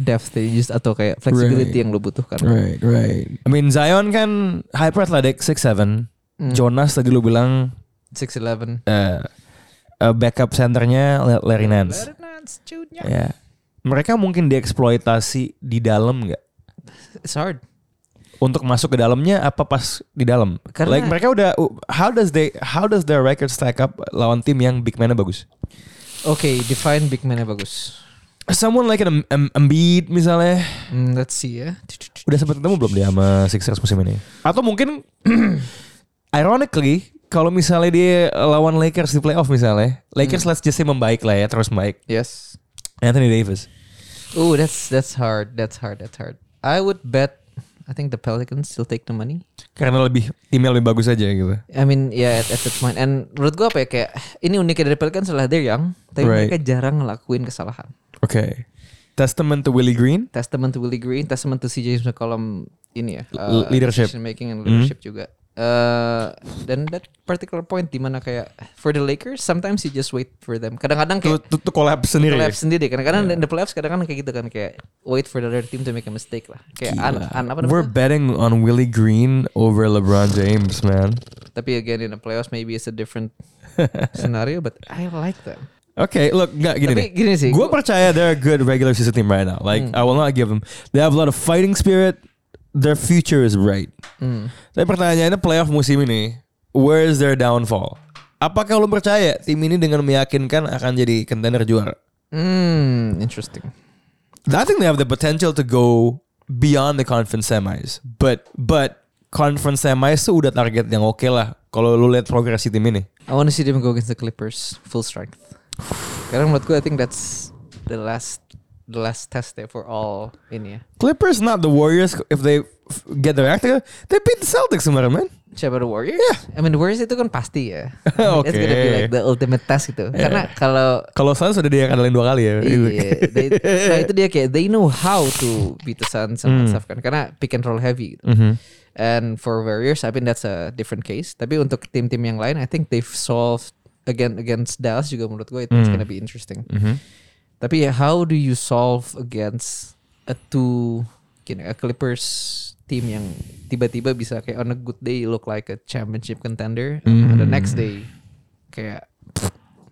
Speaker 2: depth they just atau kayak flexibility
Speaker 1: Right.
Speaker 2: yang lo butuhkan.
Speaker 1: Right, right. I mean Zion kan hyperathletic 6'7.
Speaker 2: Hmm.
Speaker 1: Jonas tadi lu bilang
Speaker 2: 6'11.
Speaker 1: eh eh, backup centernya La- Larry Nance.
Speaker 2: Nance Jr.
Speaker 1: Ya. Mereka mungkin dieksploitasi di dalam nggak?
Speaker 2: It's hard.
Speaker 1: Untuk masuk ke dalamnya apa pas di dalam?
Speaker 2: Karena-
Speaker 1: like mereka udah how does they how does their record stack up lawan tim yang big man-nya bagus?
Speaker 2: Oke, define big man-nya bagus.
Speaker 1: Someone like an Em- Em- Embiid misalnya
Speaker 2: Hmm, let's see ya.
Speaker 1: udah sempat ketemu belum dia sama Sixers musim ini? Atau mungkin ironically kalau misalnya dia lawan Lakers di playoff misalnya, Lakers
Speaker 2: Hmm.
Speaker 1: let's just say membaik lah ya terus baik.
Speaker 2: Yes.
Speaker 1: Anthony Davis.
Speaker 2: Oh, that's that's hard. That's hard. That's hard. I would bet. I think the Pelicans still take the money.
Speaker 1: Karena lebih timnya lebih bagus aja gitu.
Speaker 2: I mean, yeah, at, at that point. And menurut gue apa ya kayak ini uniknya dari Pelicans adalah they're young, tapi
Speaker 1: Right.
Speaker 2: mereka jarang ngelakuin kesalahan.
Speaker 1: Oke. Testament to Willie Green.
Speaker 2: Testament to Willie Green, testament to CJ McCollum ini ya.
Speaker 1: L- leadership. Mhm.
Speaker 2: Decision making and leadership juga. Eh, dan that particular point di mana kayak for the Lakers sometimes you just wait for them. Kadang-kadang
Speaker 1: Itu
Speaker 2: kayak
Speaker 1: itu collab sendiri.
Speaker 2: playoffs sendiri kadang-kadang
Speaker 1: Iya.
Speaker 2: in the playoffs kadang-kadang kayak gitu kan kayak wait for the other team to make a mistake lah kayak Iya, an, an- apa
Speaker 1: We're
Speaker 2: namanya
Speaker 1: betting on Willie Green over LeBron James, man.
Speaker 2: tapi again in the playoffs maybe it's a different scenario but I like that
Speaker 1: Okay, look, nggak gini
Speaker 2: Tapi
Speaker 1: deh.
Speaker 2: gini sih, Hmm.
Speaker 1: Gue
Speaker 2: gua-
Speaker 1: percaya they're a good regular season team right now. Like I will not give them. They have a lot of fighting spirit. Their future is bright.
Speaker 2: Hmm.
Speaker 1: Tapi pertanyaannya playoff musim ini, where is their downfall? Apakah lo percaya tim ini dengan meyakinkan akan jadi contender juara?
Speaker 2: hmm interesting
Speaker 1: I think they have the potential to go beyond the conference semis. But but conference semis tuh udah target yang oke lah. Kalau lu lihat progresi tim ini.
Speaker 2: I want to see them go against the Clippers full strength karena menurut gue I think that's the last the last test there for all ini ya
Speaker 1: Clippers not the Warriors if they f- get their act together. They beat the Celtics kemarin, man.
Speaker 2: siapa the Warriors I mean the Warriors itu kan pasti ya it's gonna be
Speaker 1: Oke.
Speaker 2: like the ultimate test gitu karena kalau
Speaker 1: Kalau Suns udah dia kadalin dua kali ya.
Speaker 2: Iya, they, nah itu dia kayak they know how to beat the Suns and stuff kan karena pick and roll heavy gitu.
Speaker 1: Mm-hmm.
Speaker 2: And for Warriors, I think that's a different case. Tapi untuk tim-tim yang lain, I think they've solved again against Dallas juga menurut gue itu gonna be interesting.
Speaker 1: Mm-hmm.
Speaker 2: Tapi ya, how do you solve against a two gini, a Clippers team yang tiba-tiba bisa kayak on a good day look like a championship contender, and on the next day kayak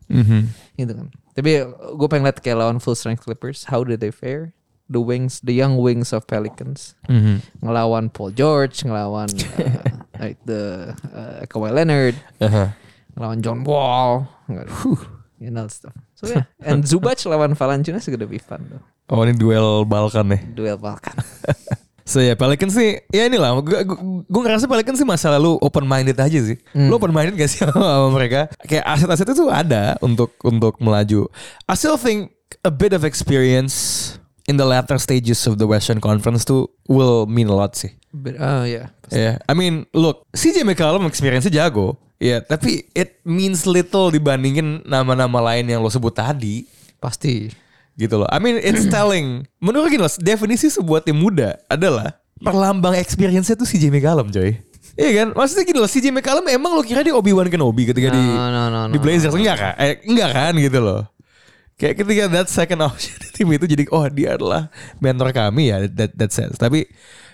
Speaker 1: Mm-hmm.
Speaker 2: gitu kan. Tapi gue pengen lihat kayak lawan full strength Clippers, how do they fare? The wings, the young wings of Pelicans,
Speaker 1: Mm-hmm.
Speaker 2: ngelawan Paul George, ngelawan uh, like the uh, Kawhi Leonard, ngelawan John Wall, nggak- you know stuff. So yeah, and Zubac lawan Valanciunas is gonna be fun though.
Speaker 1: Oh ini duel Balkan nih.
Speaker 2: Duel Balkan.
Speaker 1: So ya Pelicans sih, ya inilah. Gue ngerasa Pelicans sih masa lalu open minded aja sih. Lu open minded gak sih sama, sama mereka? Kayak aset-aset itu ada untuk untuk melaju. I still think a bit of experience in the latter stages of the Western Conference tuh will mean a lot sih.
Speaker 2: But, oh yeah.
Speaker 1: Yeah, I mean, look, CJ McCollum experience-nya jago. Ya, tapi it means little dibandingin nama-nama lain yang lo sebut tadi
Speaker 2: Pasti.
Speaker 1: gitu loh. I mean it's telling. Menurut gini loh, definisi sebuah tim muda adalah perlambang experience-nya tuh CJ McCollum coy. Iya kan? Maksudnya gini loh, CJ McCollum emang lo kira dia Obi-Wan Kenobi ketika di,
Speaker 2: No, no, no,
Speaker 1: di
Speaker 2: no,
Speaker 1: Blazers? enggak kan? Eh, enggak kan gitu loh. Kayak ketika that second option di tim itu jadi oh dia adalah mentor kami ya that, that sense. Tapi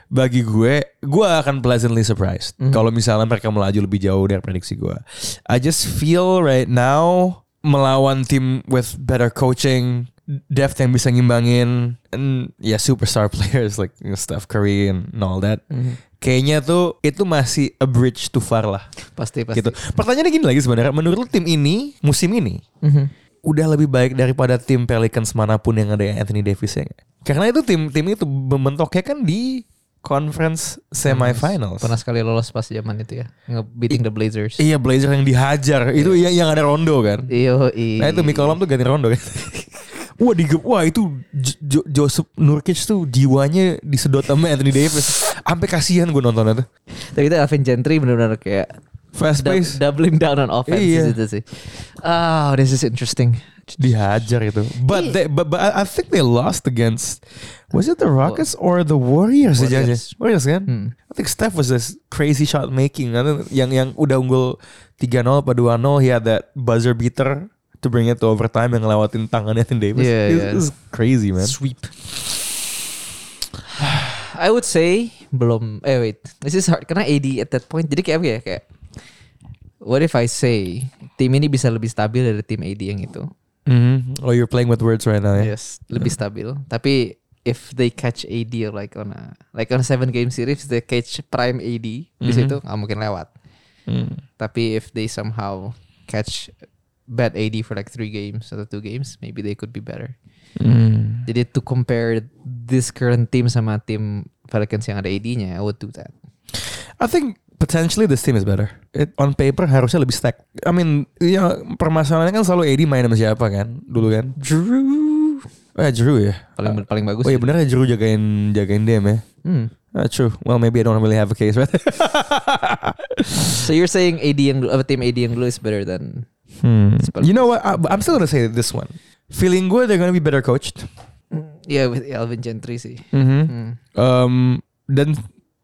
Speaker 1: bagi gue, gue akan pleasantly surprised kalau misalnya mereka melaju lebih jauh dari prediksi gue. I just feel right now melawan tim with better coaching, depth yang bisa ngimbangin, and ya superstar players like you know, Steph Curry and all that.
Speaker 2: Mhm.
Speaker 1: Kayaknya tuh itu masih a bridge too far lah
Speaker 2: Pasti pasti.
Speaker 1: gitu. Pertanyaannya gini lagi sebenarnya, menurut lu tim ini musim ini
Speaker 2: Mhm.
Speaker 1: udah lebih baik daripada tim Pelicans manapun yang ada Anthony Davis ya nggak? Karena itu tim tim itu membentuknya kan di conference semifinals.
Speaker 2: Pernah sekali lolos pas zaman itu ya. Nge-beating the Blazers.
Speaker 1: Iya Blazer yang dihajar itu
Speaker 2: Iya.
Speaker 1: yang yang ada Rondo kan.
Speaker 2: Iyo, i.
Speaker 1: Nah itu Mikolom tuh ganti Rondo kan. Wah di wah itu J- Jo- Joseph Nurkic tuh jiwanya disedot sama Anthony Davis. Sampai kasihan gue nonton itu.
Speaker 2: Tapi itu Alvin Gentry benar-benar kayak
Speaker 1: Fast
Speaker 2: dou-
Speaker 1: pace.
Speaker 2: doubling down on offense
Speaker 1: Iya.
Speaker 2: itu sih. Oh, Ah, this is interesting.
Speaker 3: dihajar itu.
Speaker 1: gitu. But they, but, but I I think they lost against was it the Rockets or the Warriors? Warriors, Warriors kan?
Speaker 2: Hmm.
Speaker 1: I think Steph was this crazy shot making. And then yang yang udah unggul 3-0 apa 2-0 he had that buzzer beater to bring it to overtime yang ngelewatin tangannya Anthony Davis.
Speaker 2: Yeah,
Speaker 1: It-
Speaker 2: yeah.
Speaker 1: it's crazy man.
Speaker 3: Sweep.
Speaker 2: I would say belum. Eh wait, this is hard karena AD at that point. Jadi kayak apa ya kayak What if I say tim ini bisa lebih stabil dari tim AD yang itu?
Speaker 1: Mhm. Oh, you're playing with words right now. Yeah.
Speaker 2: Yes, lebih stabil. Tapi if they catch AD or like on a like on a seven game series, they catch prime AD
Speaker 1: Mhm.
Speaker 2: di situ nggak mungkin lewat.
Speaker 1: Mm.
Speaker 2: Tapi if they somehow catch bad AD for like three games atau two games, maybe they could be better. Jadi to compare this current team sama tim Pelicans yang ada AD-nya, I would do that.
Speaker 1: I think potentially this team is better. It, on paper harusnya lebih stack. I mean, ya permasalahannya kan selalu AD main sama siapa kan dulu kan? Drew. Oh ya Drew ya.
Speaker 2: Paling paling bagus.
Speaker 1: Oh iya benar ya Drew jagain jagain DM ya.
Speaker 2: Hmm.
Speaker 1: Ah, true. Well, maybe I don't really have a case, right?
Speaker 2: So you're saying AD yang dulu, apa tim AD yang dulu is better than
Speaker 1: Hmm.
Speaker 2: Spurs.
Speaker 1: You know what? I, I'm still gonna say this one. Feeling gue they're gonna be better coached. Hmm.
Speaker 2: yeah with Alvin Gentry sih.
Speaker 1: Mm-hmm.
Speaker 2: Hmm.
Speaker 1: Um, dan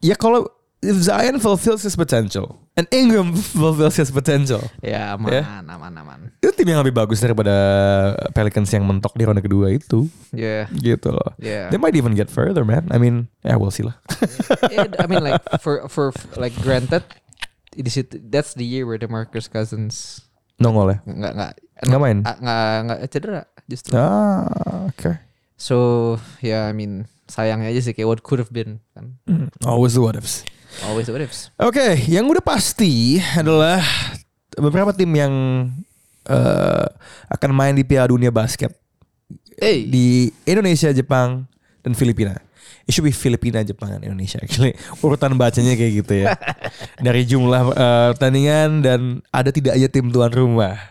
Speaker 1: ya kalau if Zion fulfills his potential and Ingram fulfills his potential,
Speaker 2: Ya aman,
Speaker 1: Ya.
Speaker 2: aman, aman.
Speaker 1: itu tim yang lebih bagus daripada Pelicans yang mentok di ronde kedua itu,
Speaker 2: Yeah,
Speaker 1: gitu loh.
Speaker 2: yeah.
Speaker 1: They might even get further, man. I mean, yeah, we'll see lah.
Speaker 2: Yeah, I mean, like for for like granted, di situ that's the year where the Marcus Cousins
Speaker 1: Nongol ya.
Speaker 2: nggak nggak
Speaker 1: Nggak main?
Speaker 2: nggak- nggak nggak cedera justru.
Speaker 1: Ah, okay.
Speaker 2: So yeah, I mean sayangnya aja sih kayak what could have been kan
Speaker 1: Hmm, Always the what ifs.
Speaker 2: always what ifs.
Speaker 1: Oke, yang udah pasti adalah beberapa tim yang eh, akan main di Piala Dunia Basket
Speaker 2: Hey,
Speaker 1: di Indonesia, Jepang, dan Filipina. It should be Filipina, Jepang, dan Indonesia. Actually, urutan bacanya kayak gitu ya. Dari jumlah eh, pertandingan dan ada tidak aja tim tuan rumah.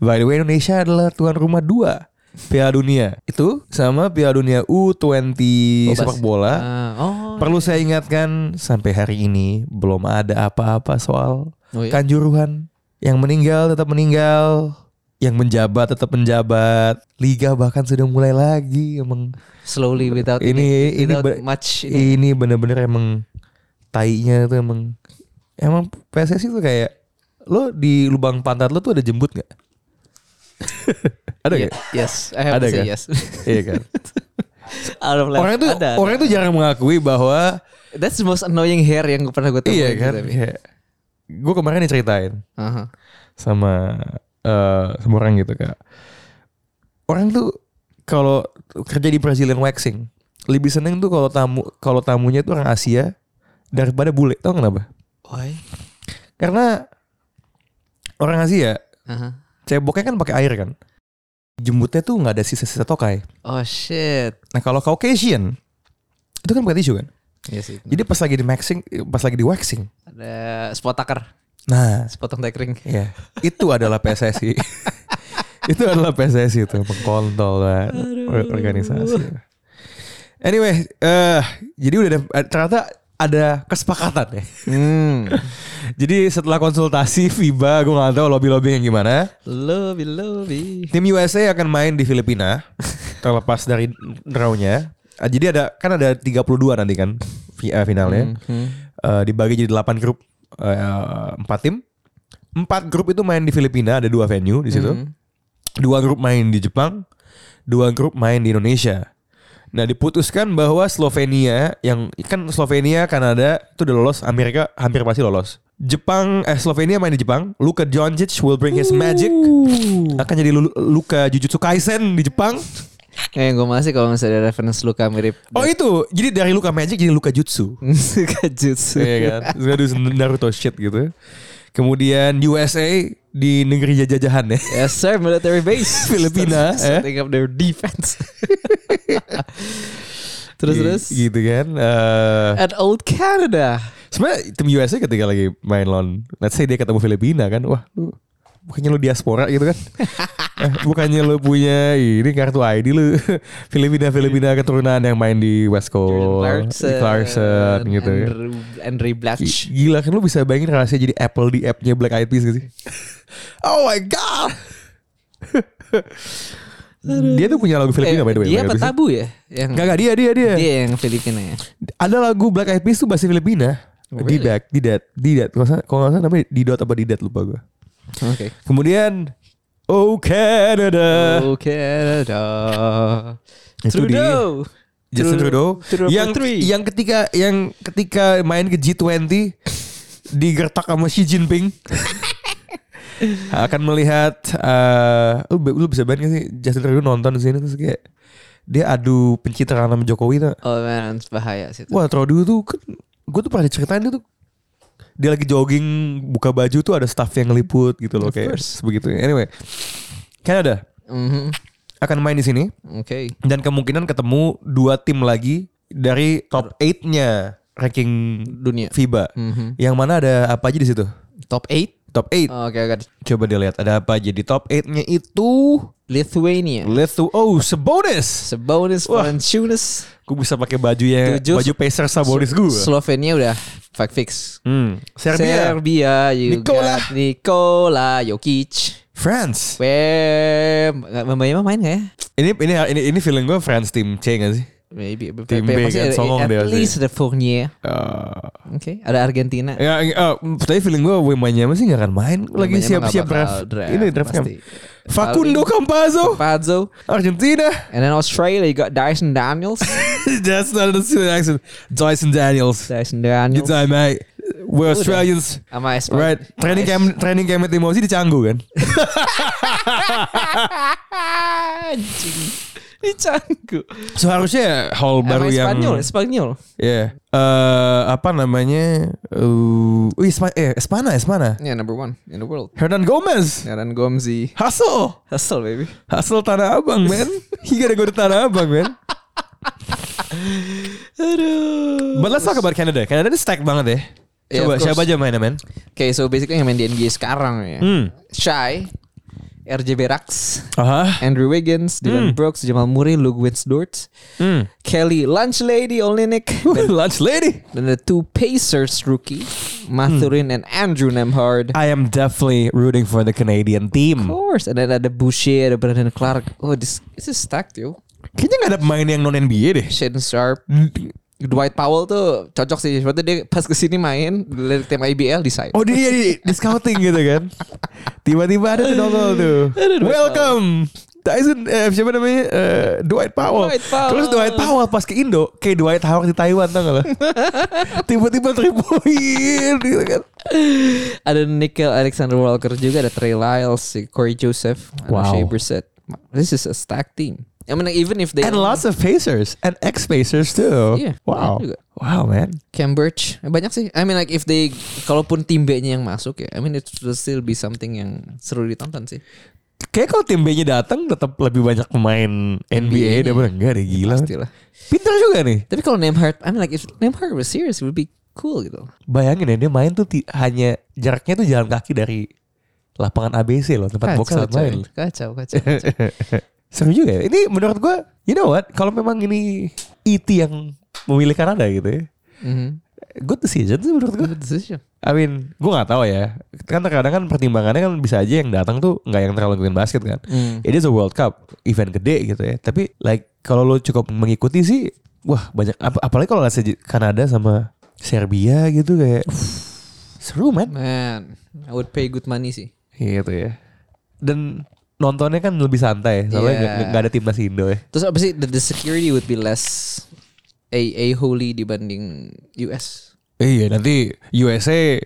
Speaker 1: By the way, Indonesia adalah tuan rumah dua Piala Dunia. Itu sama Piala Dunia U20
Speaker 2: Bobas.
Speaker 1: sepak bola.
Speaker 2: Ah, oh
Speaker 1: Perlu saya ingatkan sampai hari ini belum ada apa-apa soal
Speaker 2: Oh iya?
Speaker 1: kanjuruhan. Yang meninggal tetap meninggal, yang menjabat tetap menjabat. Liga bahkan sudah mulai lagi emang
Speaker 2: slowly without
Speaker 1: ini ini
Speaker 2: without
Speaker 1: ber-
Speaker 2: much ini.
Speaker 1: ini bener-bener emang tainya tuh emang emang PSSI tuh kayak lo di lubang pantat lo tuh ada jembut nggak? ada
Speaker 2: Yeah,
Speaker 1: nggak?
Speaker 2: Yes, I have
Speaker 1: Ada
Speaker 2: to say
Speaker 1: kan?
Speaker 2: yes.
Speaker 1: Iya kan.
Speaker 2: Out of left.
Speaker 1: Orang tuh
Speaker 2: Ada, ada.
Speaker 1: orang tuh jarang mengakui bahwa
Speaker 2: That's the most annoying hair yang pernah gue temuin.
Speaker 1: iya
Speaker 2: sih,
Speaker 1: kan.
Speaker 2: tapi. Uh-huh.
Speaker 1: Gue kemarin diceritain
Speaker 2: Aha.
Speaker 1: sama eh sama orang gitu kak. Orang tuh kalau kerja di Brazilian waxing lebih seneng tuh kalau tamu kalau tamunya tuh orang Asia daripada bule. Tahu kenapa?
Speaker 2: Why?
Speaker 1: Karena orang Asia
Speaker 2: Aha.
Speaker 1: ceboknya kan pakai air kan. Jembutnya tuh nggak ada sisa-sisa tokai.
Speaker 2: Oh shit.
Speaker 1: Nah kalau Caucasian itu kan pakai tisu kan.
Speaker 2: Iya sih.
Speaker 1: Jadi pas lagi di waxing, pas lagi di waxing.
Speaker 2: ada spot taker,
Speaker 1: Nah,
Speaker 2: sepotong tekring.
Speaker 1: ya itu adalah PSSI. itu adalah PSSI itu mengkontol lah, or- organisasi. Anyway, eh jadi udah ada, eh, ternyata ada kesepakatan ya.
Speaker 2: Hmm.
Speaker 1: Jadi setelah konsultasi FIBA, gue nggak tahu lobby lobby yang gimana.
Speaker 2: lobby lobby.
Speaker 1: Tim USA akan main di Filipina terlepas dari drawnya. Ah, Jadi ada kan ada 32 nanti kan fi- eh, finalnya. Eh, dibagi jadi 8 grup eh, empat tim. Empat grup itu main di Filipina, ada dua venue di situ. Dua grup main di Jepang, dua grup main di Indonesia. Nah, diputuskan bahwa Slovenia yang kan Slovenia, Kanada itu udah lolos, Amerika hampir pasti lolos. Jepang eh Slovenia main di Jepang. Luka Doncic will bring his magic akan jadi Lu- Luka Jujutsu Kaisen di Jepang.
Speaker 2: Eh, gue masih kalau misalnya ada reference luka mirip
Speaker 1: Oh itu, jadi dari Luka Magic jadi Luka Jutsu.
Speaker 2: kajutsu.
Speaker 1: Iya kan? Terus Naruto shit gitu. Kemudian USA di negeri jajahan ya.
Speaker 2: Yes sir, military base.
Speaker 1: Filipina, eh.
Speaker 2: Setting up their defense. terus terus.
Speaker 1: Gitu kan. Eh,
Speaker 2: At old Canada.
Speaker 1: Sebenarnya tim USA ketika lagi main lawan, let's say dia ketemu Filipina kan, wah lu bukannya lu diaspora gitu kan? Eh, bukannya lu punya ini kartu ID lu Filipina Filipina keturunan yang main di West Coast,
Speaker 2: Oh,
Speaker 1: Clarkson gitu. ya.
Speaker 2: Andrew, Andre Blatch.
Speaker 1: Gi- Gila kan lu bisa bayangin rasanya jadi Apple di app-nya Black Eyed Peas gak sih? oh my god. Dia tuh punya lagu Filipina by the way.
Speaker 2: Eh, dia
Speaker 1: by the
Speaker 2: apa
Speaker 1: way.
Speaker 2: tabu ya? Yang
Speaker 1: Enggak enggak dia dia dia.
Speaker 2: dia yang Filipina ya.
Speaker 1: Ada lagu Black Eyed Peas tuh bahasa Filipina.
Speaker 2: Really?
Speaker 1: Didak, didat, didat. Kalau nggak salah- kalau nggak salah namanya didot apa didat lupa gue.
Speaker 2: Oke.
Speaker 1: Kemudian Oh Canada.
Speaker 2: Oh Canada.
Speaker 1: Itu dia.
Speaker 2: Trudeau.
Speaker 1: Justin Trudeau,
Speaker 2: Trudeau
Speaker 1: yang
Speaker 2: Putri.
Speaker 1: yang ketika yang ketika main ke G20 digertak sama Xi Jinping akan melihat eh lu, lu bisa bayangin gak sih Justin Trudeau nonton di sini terus kayak dia adu pencitraan sama Jokowi tuh.
Speaker 2: Oh man, bahaya sih. itu.
Speaker 1: Wah Trudeau tuh kan gue tuh pernah diceritain dia tuh dia lagi jogging buka baju tuh ada staff yang ngeliput gitu loh
Speaker 2: Of
Speaker 1: kayak
Speaker 2: course.
Speaker 1: begitu. Anyway, Canada
Speaker 2: Mhm.
Speaker 1: akan main di sini
Speaker 2: Oke.
Speaker 1: dan kemungkinan ketemu dua tim lagi dari top 8-nya ranking
Speaker 2: Dunia.
Speaker 1: FIBA.
Speaker 2: Mhm.
Speaker 1: Yang mana ada apa aja di situ?
Speaker 2: Top 8.
Speaker 1: Top 8.
Speaker 2: Oke, oke.
Speaker 1: Coba dilihat ada apa aja di top 8-nya itu.
Speaker 2: Lithuania.
Speaker 1: Let's do oh Sabonis.
Speaker 2: Sabonis,
Speaker 1: Wah.
Speaker 2: Valanciunas.
Speaker 1: Gue bisa pakai baju yang
Speaker 2: Tujuh.
Speaker 1: baju Pacers Sabonis gue.
Speaker 2: Slovenia udah fact fix.
Speaker 1: Hmm. Serbia,
Speaker 2: Serbia, you
Speaker 1: Nikola.
Speaker 2: got Nikola Jokic.
Speaker 1: France.
Speaker 2: Wem, Mbak main gak ya?
Speaker 1: Ini ini ini ini feeling gue France tim C gak sih?
Speaker 2: Maybe.
Speaker 1: Tim
Speaker 2: Tim
Speaker 1: B kan, songong
Speaker 2: at
Speaker 1: dia sih.
Speaker 2: least ada Fournier.
Speaker 1: Eh,
Speaker 2: Oke, ada Argentina.
Speaker 1: ya, eh, tapi feeling gue Wemanyama sih gak akan main lagi
Speaker 2: Wembanyama
Speaker 1: siap-siap
Speaker 2: nggak bakal
Speaker 1: draft.
Speaker 2: draft,
Speaker 1: Ini draft camp.
Speaker 2: pasti.
Speaker 1: Facundo Campazzo,
Speaker 2: Pazzo.
Speaker 1: Argentina.
Speaker 2: And then Australia, you got Dyson Daniels.
Speaker 1: That's not an Australian accent. Dyson Daniels.
Speaker 2: Dyson
Speaker 1: Good
Speaker 2: Daniels.
Speaker 1: time, mate.
Speaker 2: eh?
Speaker 1: We're Australians.
Speaker 2: Sama Espa.
Speaker 1: Gitu. Right. Training camp training camp Timosi di Canggu kan?
Speaker 2: Anjing. Ini canggu.
Speaker 1: So harusnya hall baru
Speaker 2: Sama
Speaker 1: yang
Speaker 2: Spanyol, Spanyol.
Speaker 1: ya. Eh, apa namanya? Eh, wih, Spa- eh, Espana, Espana.
Speaker 2: Yeah, Ya, number one in the world.
Speaker 1: Hernan Gomez.
Speaker 2: Aaron Gomzi.
Speaker 1: Hustle.
Speaker 2: Hustle, baby.
Speaker 1: Hustle Tanah Abang, man. He gotta go to Tanah Abang, man.
Speaker 2: Aduh.
Speaker 1: But let's talk about Canada. Canada ini stack banget ya.
Speaker 2: Yeah,
Speaker 1: Coba
Speaker 2: of course.
Speaker 1: siapa aja mainnya, man?
Speaker 2: Oke, so basically yang main di NBA sekarang ya.
Speaker 1: Hmm.
Speaker 2: Shy, RJ Berax,
Speaker 1: Aha.
Speaker 2: Andrew Wiggins, Dylan Brooks, Jamal Murray, Luke Winsdort,
Speaker 1: Hmm.
Speaker 2: Kelly Lunch Lady Olenek, dan,
Speaker 1: Lunch lady.
Speaker 2: dan the two Pacers rookie,
Speaker 1: Hmm.
Speaker 2: Mathurin and Andrew Nemhard.
Speaker 1: I am definitely rooting for the Canadian
Speaker 2: Of
Speaker 1: team.
Speaker 2: course, and then ada Boucher, ada Brandon Clark. Oh, this, this is stacked, yo.
Speaker 1: Kayaknya gak ada pemain yang non NBA deh.
Speaker 2: Shaden Sharp.
Speaker 1: Hmm.
Speaker 2: Dwight Powell tuh cocok sih. Sebetulnya dia pas kesini main dari tim IBL di side.
Speaker 1: Oh dia iya, di, di scouting gitu kan. Tiba-tiba ada tuh nongol tuh.
Speaker 2: Ada Dwight
Speaker 1: Welcome. Tyson eh, siapa namanya? Eh, Dwight Powell.
Speaker 2: Dwight Powell.
Speaker 1: Terus Dwight Powell pas ke Indo, kayak Dwight Howard di Taiwan tau gak lo? Tiba-tiba 3 point gitu kan.
Speaker 2: ada Nickel Alexander Walker juga ada Trey Lyles, si Corey Joseph,
Speaker 1: Wow.
Speaker 2: ada Shea Brissett. This is a stacked team. I mean even if they
Speaker 1: And lots of Pacers and ex-Pacers too.
Speaker 2: Iya,
Speaker 1: wow.
Speaker 2: banyak juga.
Speaker 1: Wow man.
Speaker 2: Cam Birch Eh, banyak sih. I mean like if they kalaupun tim B-nya yang masuk ya, I mean it will still be something yang seru ditonton sih.
Speaker 1: Kayak kalau tim B-nya datang tetap lebih banyak pemain NBA,
Speaker 2: NBA-nya.
Speaker 1: daripada enggak deh gila.
Speaker 2: Pastilah.
Speaker 1: Pinter juga nih.
Speaker 2: Tapi kalau Nemhard, I mean like if Nemhard was serious, it would be cool gitu.
Speaker 1: Bayangin ya dia main tuh ti- hanya jaraknya tuh jalan kaki dari lapangan ABC loh tempat box out
Speaker 2: coy.
Speaker 1: main.
Speaker 2: kacau, kacau, kacau.
Speaker 1: Seru juga ya. Ini menurut gua, you know what? Kalau memang ini IT yang memilih Kanada gitu ya.
Speaker 2: Mhm.
Speaker 1: Good decision sih menurut gua.
Speaker 2: Good decision.
Speaker 1: I mean, gua nggak tahu ya. Kan terkadang kan pertimbangannya kan bisa aja yang datang tuh nggak yang terlalu ngikutin basket kan.
Speaker 2: Hmm.
Speaker 1: It is a World Cup, event gede gitu ya. Tapi like kalau lo cukup mengikuti sih, wah banyak. Ap- apalagi kalau lihat seje- Kanada sama Serbia gitu kayak seru man.
Speaker 2: Man, I would pay good money sih.
Speaker 1: gitu ya dan nontonnya kan lebih santai soalnya
Speaker 2: Iya.
Speaker 1: nggak nggak ada timnas Indo ya
Speaker 2: Terus apa sih the, the security would be less a a holy dibanding US.
Speaker 1: iya nanti USA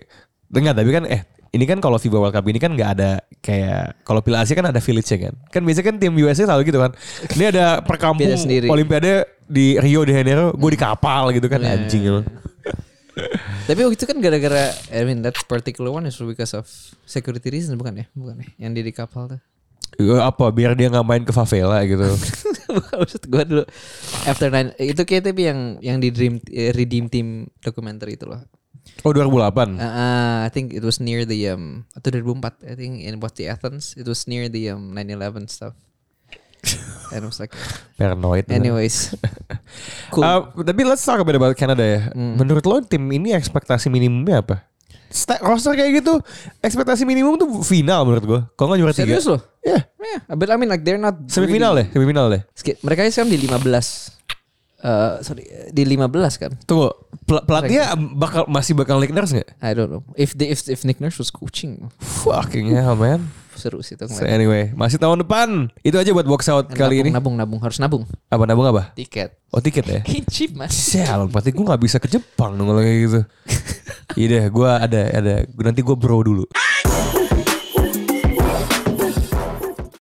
Speaker 1: enggak tapi kan eh ini kan kalau FIBA World Cup ini kan nggak ada kayak kalau Piala Asia kan ada village kan kan biasanya kan tim USA selalu gitu kan ini ada perkampung
Speaker 2: Beda sendiri.
Speaker 1: Olimpiade di Rio de Janeiro gue di kapal gitu kan
Speaker 2: Iya.
Speaker 1: anjing emang.
Speaker 2: Tapi waktu itu kan gara-gara I mean that particular one is because of security reason bukan ya? Bukan ya? Yang di di kapal tuh.
Speaker 1: Eh, apa biar dia nggak main ke favela gitu
Speaker 2: bukan maksud gue dulu after nine itu kayak tapi yang yang di dream eh, redeem team dokumenter itu loh.
Speaker 1: oh 2008
Speaker 2: Uh, I think it was near the um atau 2004 I think in what the Athens it was near the um 9/11 stuff. And I was like
Speaker 1: paranoid Ah,
Speaker 2: anyways. Cool. Ah,
Speaker 1: Eh, tapi let's talk a bit about Canada ya menurut lo tim ini ekspektasi minimumnya apa sta- roster kayak gitu ekspektasi minimum tuh final menurut gue. Kalau nggak juara tiga.
Speaker 2: Serius loh?
Speaker 1: Ya.
Speaker 2: Yeah, but I mean like they're not
Speaker 1: Semifinal deh, semifinal deh.
Speaker 2: Ski- Mereka sekarang di 15 eh sorry di 15 kan.
Speaker 1: Tunggu, pel- pelatihnya bakal masih bakal Nick Nurse nggak?
Speaker 2: I don't know. If the, if if Nick Nurse was coaching
Speaker 1: Fucking hell man.
Speaker 2: seru sih itu.
Speaker 1: So anyway, masih tahun depan. Itu aja buat box out kali ini.
Speaker 2: nabung, nabung nabung harus nabung
Speaker 1: Apa nabung apa?
Speaker 2: tiket.
Speaker 1: Oh tiket ya.
Speaker 2: Cheap mas.
Speaker 1: Sialan, berarti gue gak bisa ke Jepang dong kalau kayak gitu. Iya deh, gue ada, ada. Nanti gue bro dulu.